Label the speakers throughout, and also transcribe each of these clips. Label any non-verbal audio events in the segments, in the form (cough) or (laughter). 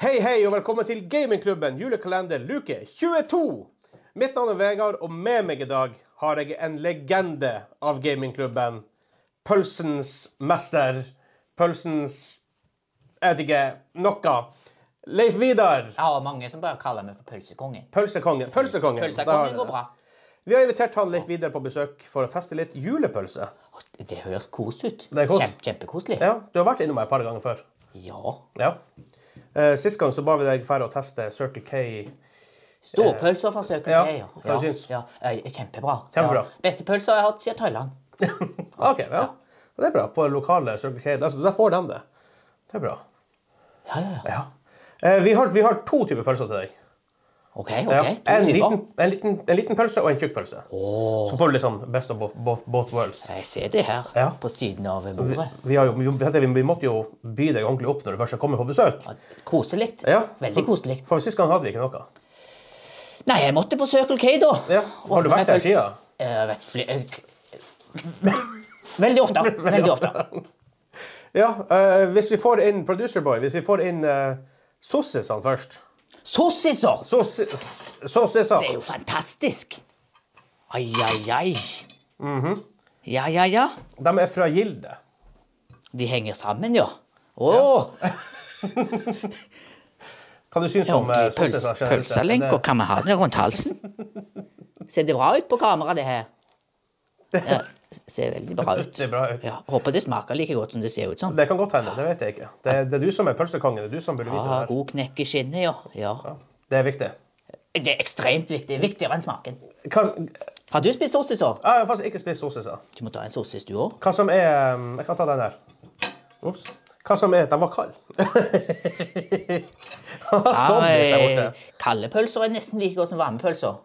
Speaker 1: Hei, hei, og velkommen til Gamingklubben julekalender luke 22. Mitt navn er Vegard, og med meg i dag har jeg en legende av gamingklubben. Pølsens mester. Pølsens Jeg vet ikke. Noe. Leif Vidar.
Speaker 2: Jeg har mange som bare kaller meg for pølsekongen.
Speaker 1: Pølsekongen. Pølsekongen. Da har
Speaker 2: Pølsekongen
Speaker 1: vi
Speaker 2: går
Speaker 1: det.
Speaker 2: bra.
Speaker 1: Vi har invitert han Leif Vidar på besøk for å teste litt julepølse.
Speaker 2: Det høres kos ut.
Speaker 1: er kos.
Speaker 2: Kjempe, kjempekoselig.
Speaker 1: Ja, Du har vært innom meg et par ganger før.
Speaker 2: Ja.
Speaker 1: Ja. Eh, Sist gang så ba vi deg dra og teste Circle K.
Speaker 2: Storpølser fra Circle
Speaker 1: Ja,
Speaker 2: K. Ja.
Speaker 1: hva syns?
Speaker 2: ja. Eh, Kjempebra.
Speaker 1: Kjempebra.
Speaker 2: Ja. Beste pølser jeg har hatt siden Thailand.
Speaker 1: OK, ja. Det er bra. På lokale Circle K. Der, der får de det. Det er bra.
Speaker 2: Ja, ja, ja.
Speaker 1: Ja. Eh, vi, har, vi har to typer pølser til deg.
Speaker 2: OK,
Speaker 1: Ja.
Speaker 2: OK. To
Speaker 1: en,
Speaker 2: typer.
Speaker 1: liten, en, liten, en liten pølse og en tjukk pølse. Så får du litt sånn best of both, both, both worlds.
Speaker 2: Jeg ser det her
Speaker 1: Ja.
Speaker 2: på siden av
Speaker 1: Vi,
Speaker 2: bordet.
Speaker 1: vi, har jo, vi, vi, vi måtte jo by deg ordentlig opp når du først kommer på besøk.
Speaker 2: Koselig.
Speaker 1: Ja.
Speaker 2: Veldig koselig.
Speaker 1: For sist gang hadde vi ikke noe.
Speaker 2: Nei, jeg måtte på Circle K, da.
Speaker 1: Ja. Har du
Speaker 2: Ordne meg
Speaker 1: vært der
Speaker 2: pølse.
Speaker 1: siden?
Speaker 2: Eh, Jeg (laughs) vet fly... jeg- Veldig
Speaker 1: (laughs)
Speaker 2: ofte. Veldig ofte.
Speaker 1: Ja. eh, hvis vi får inn Producer Boy, hvis vi får inn uh, sossisene først
Speaker 2: Sossiser!
Speaker 1: Sossi- s- Sossisene.
Speaker 2: Det er jo fantastisk! Ai, ai, ai.
Speaker 1: Mhm.
Speaker 2: Ja, ja, ja.
Speaker 1: De er fra Gilde.
Speaker 2: De henger sammen, ja. Å!
Speaker 1: Hva du syns om eh,
Speaker 2: ordentlig pøls
Speaker 1: sossisene generelt sett?
Speaker 2: pølselenker. Kan vi ha det rundt
Speaker 1: (laughs)
Speaker 2: halsen? Ser det bra ut på kamera, det her? Ja, ser veldig bra ut.
Speaker 1: (laughs) Det er bra ut.
Speaker 2: Ja, håper det smaker like godt som det ser ut som.
Speaker 1: Det kan godt hende. Det vet jeg ikke. Det, det er du som er pølsekongen. Det er du som burde vite
Speaker 2: Ja,
Speaker 1: det.
Speaker 2: Ah, god knekk i skinnet, ja. ja.
Speaker 1: her. Det er viktig.
Speaker 2: Det er ekstremt viktig. Viktigere enn smaken.
Speaker 1: Hva-
Speaker 2: Har du spist sossiser?
Speaker 1: Jeg har faktisk ikke spist sossiser.
Speaker 2: Du må ta en sossis, du òg.
Speaker 1: Hva som er um, Jeg kan ta den der. Ops. Hva som er Den var kald. (laughs) Den har stått litt der borte. Hm.
Speaker 2: Kalde pølser er nesten like godt som varme pølser.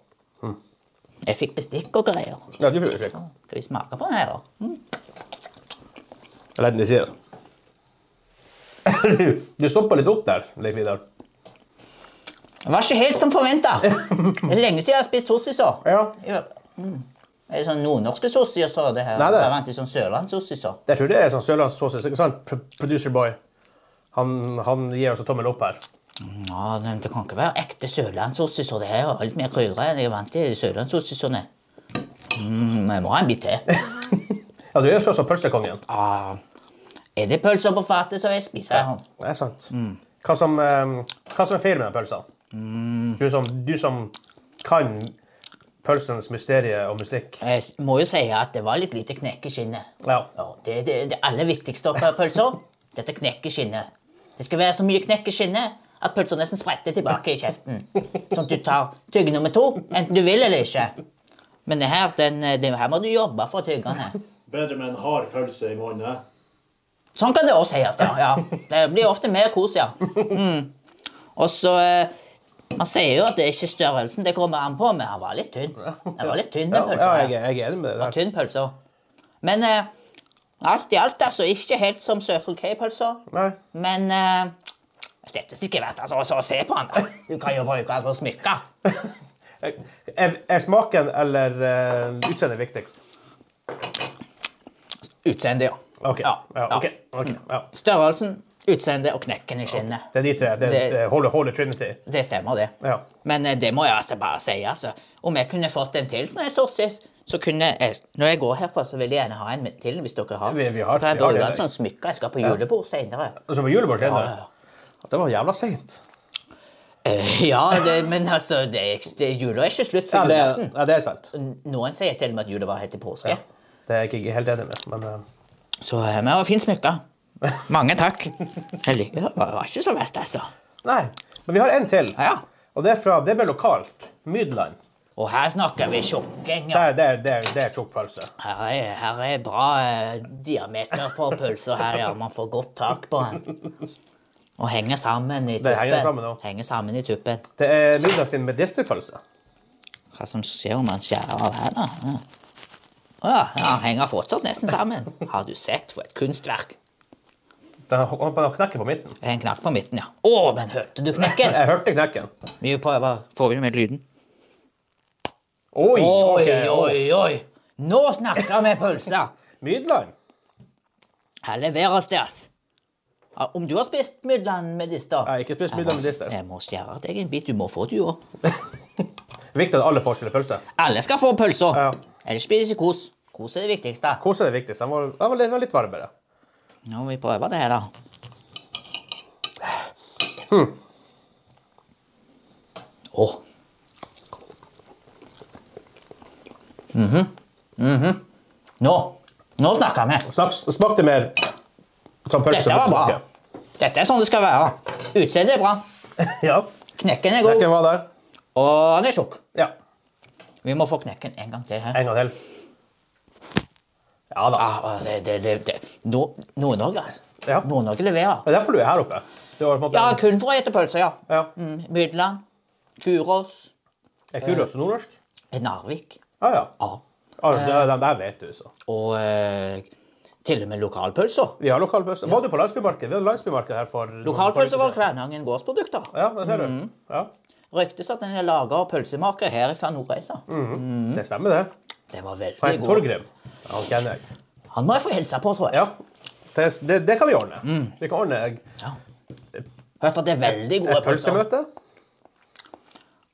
Speaker 2: Jeg fikk bestikk og greier.
Speaker 1: Ja, du får utslipp.
Speaker 2: Skal vi smake på den her, da?
Speaker 1: Jeg legger den i siden. (laughs) Du stoppa litt opp der, Leif Vidar.
Speaker 2: Det var ikke helt som forventa. Det er lenge siden jeg har spist sossiser.
Speaker 1: Ja.
Speaker 2: Mm. Er det sånn nordnorske sossiser, det her?
Speaker 1: Nei, det er-
Speaker 2: det er vant til sånn sørlandssossiser.
Speaker 1: Jeg tror det er sånn sørlandssosis. Ikke sant, Pro- producer boy? Han, han gir oss en tommel opp her.
Speaker 2: Ja, men det kan ikke være ekte sørlandssossiser. Det her er litt mer krydra enn jeg er vant til i sørlandssosisene. Mm, jeg må ha en bit til.
Speaker 1: Ja, du er jo sånn som pølsekongen.
Speaker 2: Ah, er det pølser på fatet, så jeg spiser jeg den.
Speaker 1: Det er sant. Hva, som, eh, hva som er feil med den pølsa? Du, som, du som kan pølsens mysterie og mystikk.
Speaker 2: Jeg s- må jo si at det var litt lite knekk i skinnet.
Speaker 1: Ja.
Speaker 2: Ja, det er det, det aller viktigste på pølser. Dette knekk i skinnet. Det skal være så mye knekk i skinnet at pølser nesten spretter tilbake i kjeften. Sånn at du tar tygge nummer to, enten du vil eller ikke. Men det her, den, det her må du jobbe for å tygge den. her.
Speaker 3: Bedre med en hard pølse i munnen.
Speaker 2: Sånn kan det også sies, ja. ja. Det blir ofte mer kos, ja. Mm. Og så eh, Man sier jo at det er ikke størrelsen det kommer an på, men han var litt tynn. Han var litt tynn, den
Speaker 1: Ja,
Speaker 2: pølsen.
Speaker 1: ja
Speaker 2: her.
Speaker 1: jeg, er- jeg er enig med deg
Speaker 2: Og
Speaker 1: der.
Speaker 2: tynn pølse. Men eh, alt i alt, altså. Ikke helt som Circle K-pølser.
Speaker 1: Nei.
Speaker 2: Men eh, statistikk er verdt altså, også å se på den. da. Du kan jo bruke den som smykke.
Speaker 1: Eh, Er, er smaken eller eh, utseendet viktigst?
Speaker 2: Utseende, ja.
Speaker 1: OK. Ja, ok, ok, ja.
Speaker 2: Størrelsen, utseende og knekken i skinnet.
Speaker 1: Det er de tre. Det er
Speaker 2: Det-
Speaker 1: det... Holy, holy Trinity.
Speaker 2: Det stemmer, det.
Speaker 1: Ja.
Speaker 2: Men eh, det må jeg altså bare si. altså. Om jeg kunne fått en til sånn en sossis, så kunne jeg Når jeg går herfra, så vil jeg gjerne ha en til hvis dere har.
Speaker 1: Vi- vi har-
Speaker 2: Så kan jeg
Speaker 1: vi har
Speaker 2: bruke
Speaker 1: det,
Speaker 2: den som smykke. Jeg skal på julebord senere.
Speaker 1: Og så på julebord
Speaker 2: Ja,
Speaker 1: senere.
Speaker 2: ja, ja.
Speaker 1: Det var jævla seint.
Speaker 2: Eh, ja, det, men altså, det, er ikke- det, jula er ikke slutt
Speaker 1: Ja,
Speaker 2: for
Speaker 1: det er-
Speaker 2: julaften.
Speaker 1: ja, det er sant.
Speaker 2: Noen sier til og med at jula var helt til påske.
Speaker 1: Ja. Det er jeg ikke helt enig med, men eh,
Speaker 2: Så eh, vi var fint smykka.
Speaker 1: (laughs)
Speaker 2: Mange takk. Jeg liker det. Det var ikke så verst, altså.
Speaker 1: Nei. Men vi har en til.
Speaker 2: Ja.
Speaker 1: Og det er fra Det er vel lokalt. Mydland.
Speaker 2: Og her snakker vi tjukking.
Speaker 1: Det
Speaker 2: ja.
Speaker 1: er- det er- det er- det er tjukk pølse.
Speaker 2: Her er, her er bra eh, diameter på pølser her, ja. Man får godt tak på den. Og henger sammen i tuppen.
Speaker 1: henger sammen, ja.
Speaker 2: Henger sammen i tuppen.
Speaker 1: Det er Mydland sin medisterpølse.
Speaker 2: Hva som skjer om man skjærer av her, da? Ja. Å ja, ja, han henger fortsatt nesten sammen. Har du sett for et kunstverk?
Speaker 1: Den har- holdt på å knekke på midten.
Speaker 2: Det er en knakk på midten, ja. Å, men hørte du
Speaker 1: (laughs)
Speaker 2: knekken?
Speaker 1: Jeg hørte knekken.
Speaker 2: Vi prøver. Får vi med lyden?
Speaker 1: Oi,
Speaker 2: Oi,
Speaker 1: ok, oi.
Speaker 2: oi, oi! Nå snakker vi pølser!
Speaker 1: Mydland.
Speaker 2: Her leveres det, ass. Ja, Om du har spist midlene med dister?
Speaker 1: Jeg har ikke spist midlene med dister.
Speaker 2: Jeg må skjære deg en bit. Du må få det, du òg.
Speaker 1: Viktig at alle får sine pølser.
Speaker 2: Alle skal få pølser.
Speaker 1: Ja.
Speaker 2: Ellers blir det ikke kos. Kos er det viktigste.
Speaker 1: Kos er det viktigste. Den var, den var litt- den var litt varmere.
Speaker 2: Nå må vi prøve det her, da.
Speaker 1: Hmm.
Speaker 2: Åh. Mhm. Mhm. Nå. Nå snakker vi.
Speaker 1: Snaks, smakte mer som pølse.
Speaker 2: Dette var
Speaker 1: på
Speaker 2: bra. Dette er sånn det skal være. Utseendet er bra.
Speaker 1: smaken. Ja.
Speaker 2: Knekken er god.
Speaker 1: Knekken var der.
Speaker 2: Og han er tjukk.
Speaker 1: Ja.
Speaker 2: Vi må få knekken en gang til. her.
Speaker 1: En gang til. Ja da.
Speaker 2: Ah, det, det, det, det. Nord- Nord-Norge, altså.
Speaker 1: Ja.
Speaker 2: Nord-Norge leverer.
Speaker 1: Det er derfor du er her oppe. Du har på en måte...
Speaker 2: Ja, kun for å ete pølser, ja.
Speaker 1: Ja.
Speaker 2: Mm, Mydland, Kuros,
Speaker 1: Er Kuros nordnorsk?
Speaker 2: Narvik.
Speaker 1: Ja, ja.
Speaker 2: Ja.
Speaker 1: ja
Speaker 2: Eh.
Speaker 1: det, den der vet du, så.
Speaker 2: Og eh, til og med lokalpølser.
Speaker 1: Vi har lokalpølse. Var du på landsbymarkedet? Vi hadde landsbymarked her for
Speaker 2: Lokalpølser var Mm.
Speaker 1: for-
Speaker 2: Kvænangen gårdsprodukter.
Speaker 1: Ja, det ser du. Ja.
Speaker 2: Ryktes at den er laga av pølsemaker her fra Nordreisa.
Speaker 1: Det stemmer, det.
Speaker 2: Det var
Speaker 1: Han
Speaker 2: veldig
Speaker 1: Mm. heter
Speaker 2: god.
Speaker 1: Torgrim. Ja, han kjenner jeg.
Speaker 2: Han må jeg få hilse på, tror jeg.
Speaker 1: Ja. Det, det, det kan vi ordne.
Speaker 2: Mm.
Speaker 1: Vi kan ordne et
Speaker 2: Hørte at det er veldig gode pølser.
Speaker 1: pølsemøte.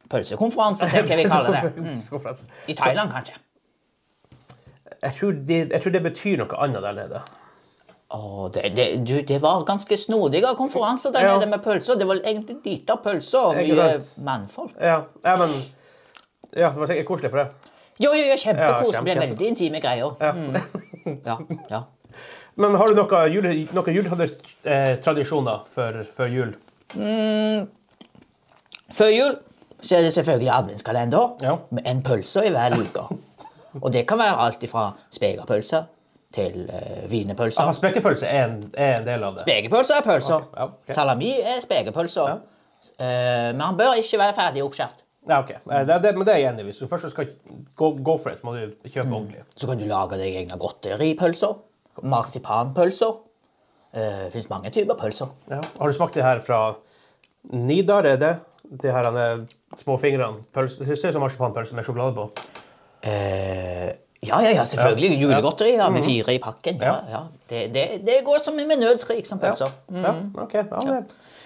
Speaker 2: Pølsekonferanse, tenker jeg vi kaller
Speaker 1: (laughs)
Speaker 2: det. Mm. I Thailand, kanskje.
Speaker 1: Jeg tror, det, jeg tror det betyr noe annet der nede.
Speaker 2: Åh, det, det, du, det var ganske snodige konferanser der
Speaker 1: Ja.
Speaker 2: nede med pølser. Det var egentlig lite pølser og
Speaker 1: Ikke
Speaker 2: mye
Speaker 1: sant.
Speaker 2: mannfolk.
Speaker 1: Ja, ja men ja, Det var sikkert koselig for deg.
Speaker 2: Jo, jo, jo, kjempekos.
Speaker 1: Ja,
Speaker 2: Det ble
Speaker 1: kjempe-
Speaker 2: veldig intime greier. Mm.
Speaker 1: Ja. (laughs)
Speaker 2: Ja, ja.
Speaker 1: Men har du noen jule, noe juletradisjoner før, før jul?
Speaker 2: Før jul så er det selvfølgelig adventskalender
Speaker 1: Ja.
Speaker 2: med en pølse i hver luke. Og det kan være alt fra spekepølse til uh,
Speaker 1: Ja,
Speaker 2: wienerpølser.
Speaker 1: Spekepølse er en, er en del av det.
Speaker 2: Spekepølser er pølser.
Speaker 1: Ah. Ok, ja, ok.
Speaker 2: Salami er spekepølser. Eh, men han bør ikke være ferdig oppskåret.
Speaker 1: Ja, ok. Eh, Det, det, men det er jeg enig i. Hvis du først skal gå, gå for det, så må du
Speaker 2: Mm.
Speaker 1: kjøpe ordentlig.
Speaker 2: Så kan du lage deg egne godteripølser. Marsipanpølser. Eh, Det fins mange typer pølser.
Speaker 1: Ja. Har du smakt det her fra Nidar, er det? De her han er små fingrene. Pølse, det ser ut som marsipanpølse med sjokolade på.
Speaker 2: Eh, ja, ja, ja, selvfølgelig. Julegodteri ja,
Speaker 1: Mm.
Speaker 2: med fire i pakken. Ja, ja. Det, det, det går som med nødskrik som pølser. Mm.
Speaker 1: Ja, ok. Ja, det.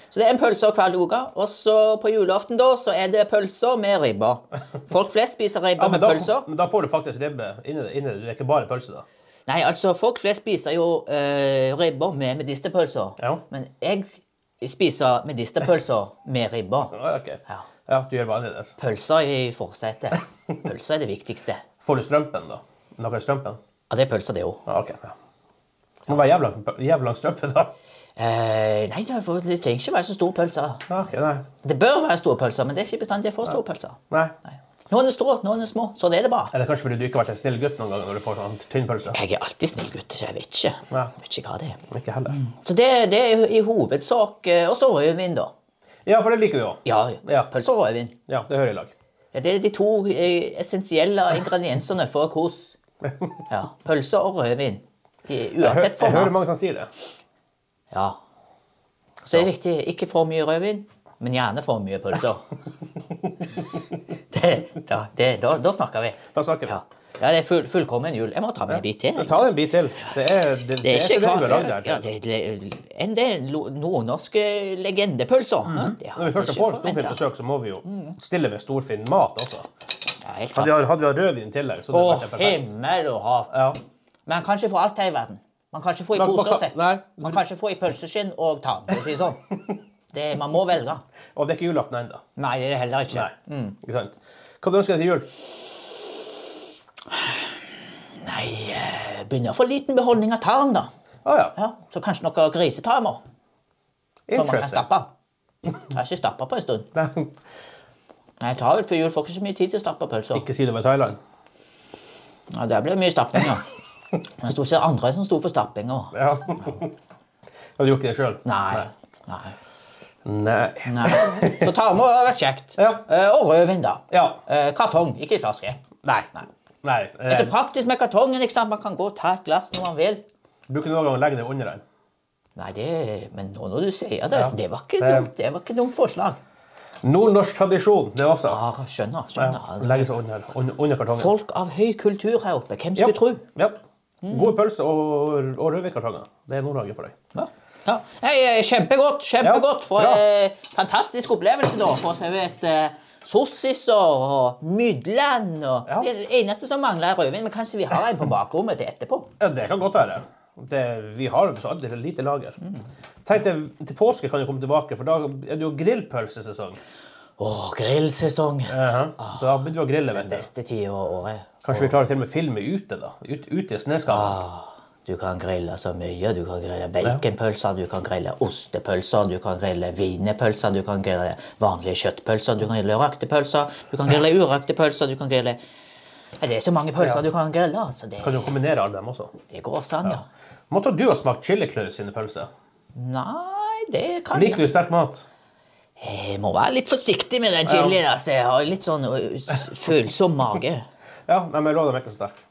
Speaker 2: Så det er en pølse hver luke. Og så på julaften da, så er det pølser med ribber. Folk flest spiser ribber
Speaker 1: Ja, men,
Speaker 2: med
Speaker 1: da,
Speaker 2: pølser.
Speaker 1: men da får du faktisk ribbe inni det. Inni det. Du er ikke bare pølse, da.
Speaker 2: Nei, altså, folk flest spiser jo eh, ribber med medisterpølser.
Speaker 1: Ja.
Speaker 2: Men jeg spiser medisterpølser med ribber.
Speaker 1: Ja, ok.
Speaker 2: Ja.
Speaker 1: ja, du gjør bare altså. annerledes.
Speaker 2: Pølser i forsetet. Pølser er det viktigste.
Speaker 1: Får du strømpen, da? Noe i strømpen?
Speaker 2: Ja, det er pølser, det òg.
Speaker 1: Ja, ok. Ja. Må være jævla, jævla lang strømpe, da.
Speaker 2: Eh, nei, det er for- det trenger ikke være så store pølser.
Speaker 1: Ja, ok, nei.
Speaker 2: Det bør være store pølser, men det er ikke bestandig jeg får store pølser.
Speaker 1: nei.
Speaker 2: Nei. Noen er store, noen er små. Sånn er det bare.
Speaker 1: Er det kanskje fordi du ikke har vært en snill gutt noen gang når du får sånn tynn pølse?
Speaker 2: Jeg er alltid snill gutt, så jeg vet ikke.
Speaker 1: Ja.
Speaker 2: Jeg vet ikke hva det er.
Speaker 1: Ikke heller.
Speaker 2: Så det, det er i hovedsak eh, Og så rødvin, da.
Speaker 1: Ja, for det liker du òg.
Speaker 2: Ja,
Speaker 1: Ja.
Speaker 2: pølser og rødvin.
Speaker 1: Ja, det hører i lag.
Speaker 2: Ja, det er de to eh, essensielle ingrediensene for
Speaker 1: (laughs)
Speaker 2: kos. Ja, Pølser og rødvin. I,
Speaker 1: Hø-
Speaker 2: uansett
Speaker 1: Jeg hører
Speaker 2: format.
Speaker 1: mange som sier det.
Speaker 2: Ja. Så det er viktig. Ikke for mye rødvin, men gjerne for mye
Speaker 1: (laughs)
Speaker 2: pølser. det, da, det, da, da snakker vi.
Speaker 1: Da snakker vi.
Speaker 2: Ja, ja det er full, fullkommen jul. Jeg må ta med en bit til. jeg.
Speaker 1: Ta deg en bit til. Det er, det,
Speaker 2: Det er ikke
Speaker 1: det vi har
Speaker 2: hva
Speaker 1: lagd her.
Speaker 2: ja, det er le- En del lo- nordnorske legendepølser. hæ? Det har
Speaker 1: Når Mhm. vi
Speaker 2: jeg
Speaker 1: først
Speaker 2: ikke Mm.
Speaker 1: får
Speaker 2: forventet.
Speaker 1: storfint besøk, så må vi jo stille med storfint mat også.
Speaker 2: Ja, helt
Speaker 1: Hadde vi
Speaker 2: klart.
Speaker 1: hatt- hadde vi hatt rødvin i tillegg, så
Speaker 2: Å,
Speaker 1: hadde det vært perfekt.
Speaker 2: himmel og hav.
Speaker 1: Ja.
Speaker 2: Men man kan ikke få alt her i verden. Man kan ikke få i
Speaker 1: Man- man
Speaker 2: pose og
Speaker 1: kan-
Speaker 2: sekk.
Speaker 1: nei.
Speaker 2: Man kan ikke få i pølseskinn og tarm, for å si
Speaker 1: (laughs)
Speaker 2: det sånn. Det, man må velge.
Speaker 1: Og det er ikke julaften ennå.
Speaker 2: Nei, det er det heller ikke.
Speaker 1: Nei. Ikke sant? Hva du ønsker deg til jul?
Speaker 2: Nei, eh, begynner å få liten beholdning av tarm, da.
Speaker 1: Å ja.
Speaker 2: Ja, så kanskje noe grisetarmer som man kan
Speaker 1: Interesting.
Speaker 2: stappe. Jeg har ikke stappa på en stund.
Speaker 1: Nei,
Speaker 2: Nei, jeg tar vel før jul, får ikke så mye tid til å stappe pølser.
Speaker 1: Ikke si det var i Thailand.
Speaker 2: Ja, der ble det mye stapping, ja. Men det stod ikke andre som sto for stappinga.
Speaker 1: Ja. Hadde du gjort det sjøl?
Speaker 2: Nei. Nei.
Speaker 1: Nei.
Speaker 2: Nei. Så tarmer har vært kjekt.
Speaker 1: Ja.
Speaker 2: Eh, Og rødvin, da.
Speaker 1: Ja.
Speaker 2: Eh, Kartong, ikke flaske.
Speaker 1: Nei.
Speaker 2: Nei.
Speaker 1: Nei.
Speaker 2: Det
Speaker 1: Eh,
Speaker 2: er så praktisk med kartongen. ikke sant? Man kan gå og ta et glass når man vil.
Speaker 1: Eh, bruker du noen gang å legge det under den?
Speaker 2: Nei, det, Men nå når du sier det, så det var
Speaker 1: Det-
Speaker 2: ikke dumt. Det var ikke dumt forslag.
Speaker 1: Nordnorsk tradisjon, det også.
Speaker 2: Ja, skjønner.
Speaker 1: Ja.
Speaker 2: skjønner.
Speaker 1: Legge seg under, under, under kartongen.
Speaker 2: Folk av høy kultur her oppe. Hvem skulle tro?
Speaker 1: Ja. Gode pølser og, og rødvinkartonger. Det er Nord-Norge for deg.
Speaker 2: Ja. Ja. Nei, eh, kjempegodt. kjempegodt. For
Speaker 1: bra.
Speaker 2: eh, fantastisk opplevelse, da. For så vet eh, sossiser og mydland og
Speaker 1: Ja.
Speaker 2: Det eneste som mangler, er rødvin. Men kanskje vi har en på bakrommet til etterpå?
Speaker 1: Ja, det kan godt være. Det, vi har jo så aldri et lite lager. Tenk deg, Til påske kan du komme tilbake, for da er det jo grillpølsesesong.
Speaker 2: Å, grillsesong.
Speaker 1: Da begynner vi å grille. vet du.
Speaker 2: Beste tida av året.
Speaker 1: Kanskje vi klarer til og med å filme ute, da. Ut, ute i snøskavlen.
Speaker 2: Du kan grille så mye. Du kan grille baconpølser, du kan grille ostepølser, du kan grille wienerpølser, du kan grille vanlige kjøttpølser, du kan grille rakte pølser, du kan grille urakte pølser, du kan grille ja, Det er så mange pølser du kan grille. altså det,
Speaker 1: Kan du kombinere alle dem også?
Speaker 2: det går sånn, ja.
Speaker 1: Måtte du ha smakt Chili Claus sine pølser?
Speaker 2: Nei, det kan jeg
Speaker 1: Liker du sterk mat?
Speaker 2: Jeg må være litt forsiktig med den chilien. Altså. Jeg har litt sånn ø, s- følsom mage.
Speaker 1: Ja, nei, men rå dem er ikke så sterk.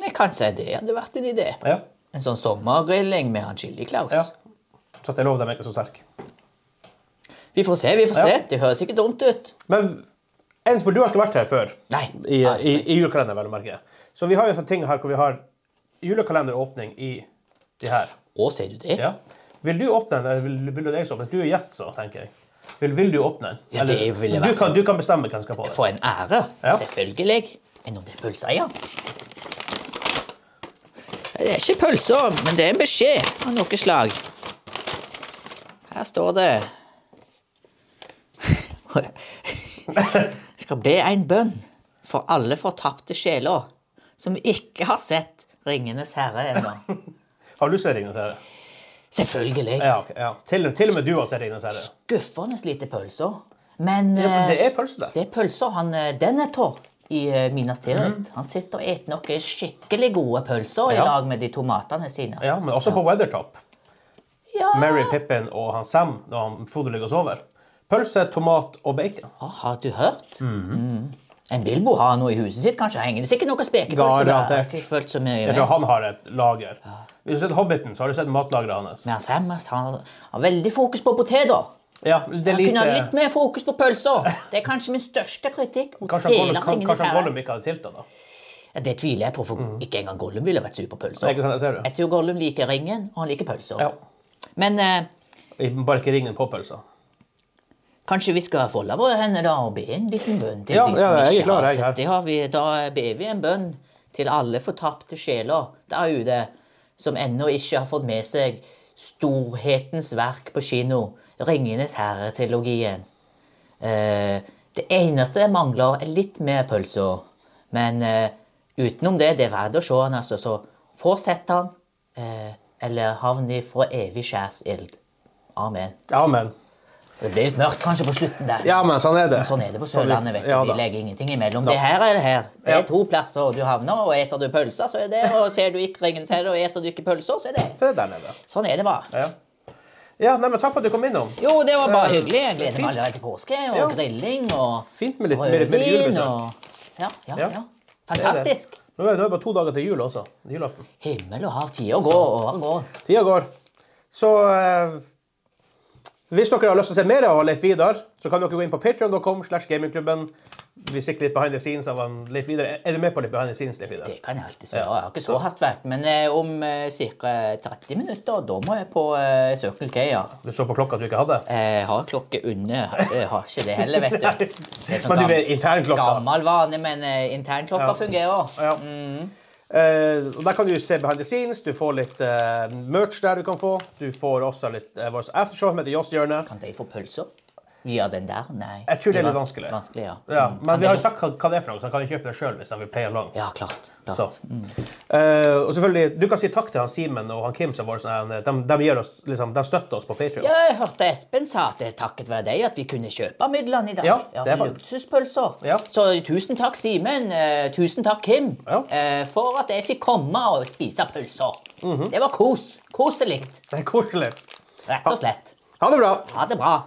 Speaker 2: Nei, kanskje det hadde vært en idé.
Speaker 1: Ja.
Speaker 2: En sånn sommergrilling med han Chili Claus.
Speaker 1: ja. Så at jeg lover dem er ikke så sterk.
Speaker 2: Vi får se, vi får se.
Speaker 1: Ja.
Speaker 2: Det høres ikke dumt ut.
Speaker 1: Men ens, for du har ikke vært her før.
Speaker 2: Nei.
Speaker 1: I, i, i julekalenderen, vel å merke. Så vi har jo en sånn ting her hvor vi har julekalenderåpning i de her.
Speaker 2: Å, sier du det?
Speaker 1: Ja. Vil du åpne den, eller vil, vil du deg som åpne? Du er gjest, så, tenker jeg. Vil, vil du åpne den?
Speaker 2: Ja, det
Speaker 1: Eller-
Speaker 2: vil jeg
Speaker 1: du
Speaker 2: vært.
Speaker 1: kan, du kan bestemme hvem som skal få den.
Speaker 2: For en ære.
Speaker 1: Ja.
Speaker 2: Selvfølgelig. Men om det er pølser, ja. Det er ikke pølser, men det er en beskjed av noe slag. Her står det Jeg skal be en bønn for alle fortapte sjeler som ikke har sett Ringenes herre ennå.
Speaker 1: Har du sett Ringenes herre?
Speaker 2: Selvfølgelig.
Speaker 1: Ja, ok, ja. Til, til og med du har sett Ringenes herre.
Speaker 2: Skuffende lite pølser. Men
Speaker 1: Ja, men
Speaker 2: eh,
Speaker 1: det er pølse der.
Speaker 2: Det er pølser. Han eh, Denethor i eh, Minas Tirith. Han sitter og eter noen skikkelig gode pølser
Speaker 1: Mm. Ja.
Speaker 2: i lag med de tomatene sine.
Speaker 1: Ja, men også på Weathertop.
Speaker 2: Ja.
Speaker 1: Mary Pippin og han Sam når han Frode ligger og sover. Pølse, tomat og bacon.
Speaker 2: Ah, har du hørt?
Speaker 1: Mhm.
Speaker 2: Mm. En Bilbo har noe i huset sitt, kanskje. Henger det sikkert noen spekepølser der? Jeg
Speaker 1: Garantert.
Speaker 2: har ikke følt så mye
Speaker 1: Jeg
Speaker 2: med.
Speaker 1: tror han har et lager. Hvis du har sett Hobbiten, så har du sett matlageret hans.
Speaker 2: Men han Sam han har veldig fokus på poteter.
Speaker 1: Ja, det er
Speaker 2: Han kunne ha
Speaker 1: lite...
Speaker 2: litt mer fokus på pølser. Det er kanskje min største kritikk. mot
Speaker 1: Kanskje han
Speaker 2: hele
Speaker 1: Gollum- kan-
Speaker 2: Ringenes
Speaker 1: kanskje han
Speaker 2: Herre.
Speaker 1: Gollum ikke hadde tilta, da.
Speaker 2: Ja, Det tviler jeg på, for ikke engang Gollum ville vært sur på
Speaker 1: Det
Speaker 2: pølser.
Speaker 1: er ikke sant, jeg ser det.
Speaker 2: Jeg tror Gollum liker ringen, og han liker pølser.
Speaker 1: Ja.
Speaker 2: Men eh,
Speaker 1: Bare ikke ringen på pølsa.
Speaker 2: Kanskje vi skal folde våre hender da og be en liten bønn til
Speaker 1: Ja,
Speaker 2: de
Speaker 1: ja,
Speaker 2: som
Speaker 1: jeg er
Speaker 2: ikke
Speaker 1: klar,
Speaker 2: har
Speaker 1: jeg er her.
Speaker 2: sett det. Har vi, da ber vi en bønn til alle fortapte sjeler der ute som ennå ikke har fått med seg storhetens verk på kino, Ringenes herre-trilogien. Eh, det eneste jeg mangler, er litt mer pølser. Men eh, utenom det, det er verdt å se han, altså. Så få sett han, eh, eller havn i for evig skjærsild. Amen.
Speaker 1: Ja, men.
Speaker 2: Det blir litt mørkt kanskje på slutten der.
Speaker 1: Ja, men sånn er det.
Speaker 2: Sånn er det på Sørlandet. vet du.
Speaker 1: Ja,
Speaker 2: De
Speaker 1: da.
Speaker 2: legger ingenting imellom. Det her er det her. Det
Speaker 1: Ja.
Speaker 2: er to plasser du havner, og eter du pølser, så er det Og ser du ikke Ringens herre, og eter du ikke pølser, så er det
Speaker 1: Se der nede.
Speaker 2: Sånn er det bare.
Speaker 1: Ja. ja, nei, men takk for at du kom innom.
Speaker 2: Jo, det var bare
Speaker 1: Eh,
Speaker 2: hyggelig. Jeg gleder
Speaker 1: fint.
Speaker 2: meg allerede til påske. Og
Speaker 1: Ja.
Speaker 2: grilling og
Speaker 1: Fint med litt mer, mer
Speaker 2: rødvin
Speaker 1: julebesøk.
Speaker 2: og ja, ja,
Speaker 1: Ja.
Speaker 2: ja, Fantastisk.
Speaker 1: Nå er nå er det bare to dager til jul også. Julaften.
Speaker 2: Himmel og hav. Tida går, og år går.
Speaker 1: Tida går. Så eh, hvis dere har lyst til å se mer av Leif Vidar, så kan dere gå inn på patreon.com slash gamingklubben. Vi sikter litt behind the scenes av han Leif Vidar. Er- Er du med på litt behind the scenes, Leif Vidar?
Speaker 2: Det kan jeg alltid svare. Jeg har ikke så hastverk. Men eh, om eh, ca. 30 minutter, da må jeg på eh, Circle K, ja.
Speaker 1: Du så på klokka at du ikke hadde?
Speaker 2: Jeg har klokke under. Jeg har ikke det
Speaker 1: (laughs)
Speaker 2: heller, vet du. Det er sånn
Speaker 1: Men du
Speaker 2: gam-
Speaker 1: er internklokka.
Speaker 2: gammel vane, men eh, internklokka
Speaker 1: Ja.
Speaker 2: fungerer.
Speaker 1: Ja. Mm. Eh, og der kan du se behind the scenes. Du får litt eh, merch der du kan få. Du får også litt eh, vår aftershow som heter Joss-hjørnet.
Speaker 2: Kan de få pølser via den der? Nei.
Speaker 1: Jeg tror det er litt
Speaker 2: vans-
Speaker 1: vanskelig.
Speaker 2: vanskelig ja.
Speaker 1: Ja,
Speaker 2: Mm.
Speaker 1: men
Speaker 2: Kan
Speaker 1: vi
Speaker 2: de-
Speaker 1: har jo sagt hva, hva det er for noe, så han kan jo kjøpe det sjøl hvis han vil play along.
Speaker 2: Ja, klart.
Speaker 1: Så.
Speaker 2: klart.
Speaker 1: Eh, og selvfølgelig, Du kan si takk til han Simen og han Kim. som var sånn, her, de, de, gir oss, liksom, de støtter oss på Patreon.
Speaker 2: Ja, jeg hørte Espen sa at det er takket være deg at vi kunne kjøpe midlene i dag.
Speaker 1: Ja, det er
Speaker 2: for
Speaker 1: fakt-
Speaker 2: luksuspølser.
Speaker 1: Ja.
Speaker 2: Så tusen takk, Simen. eh, tusen takk, Kim,
Speaker 1: Ja.
Speaker 2: eh, for at jeg fikk komme og spise pølser.
Speaker 1: Mhm.
Speaker 2: Det var kos. Koselig.
Speaker 1: Det er koselig.
Speaker 2: Rett og slett.
Speaker 1: Ha det bra!
Speaker 2: Ha det bra.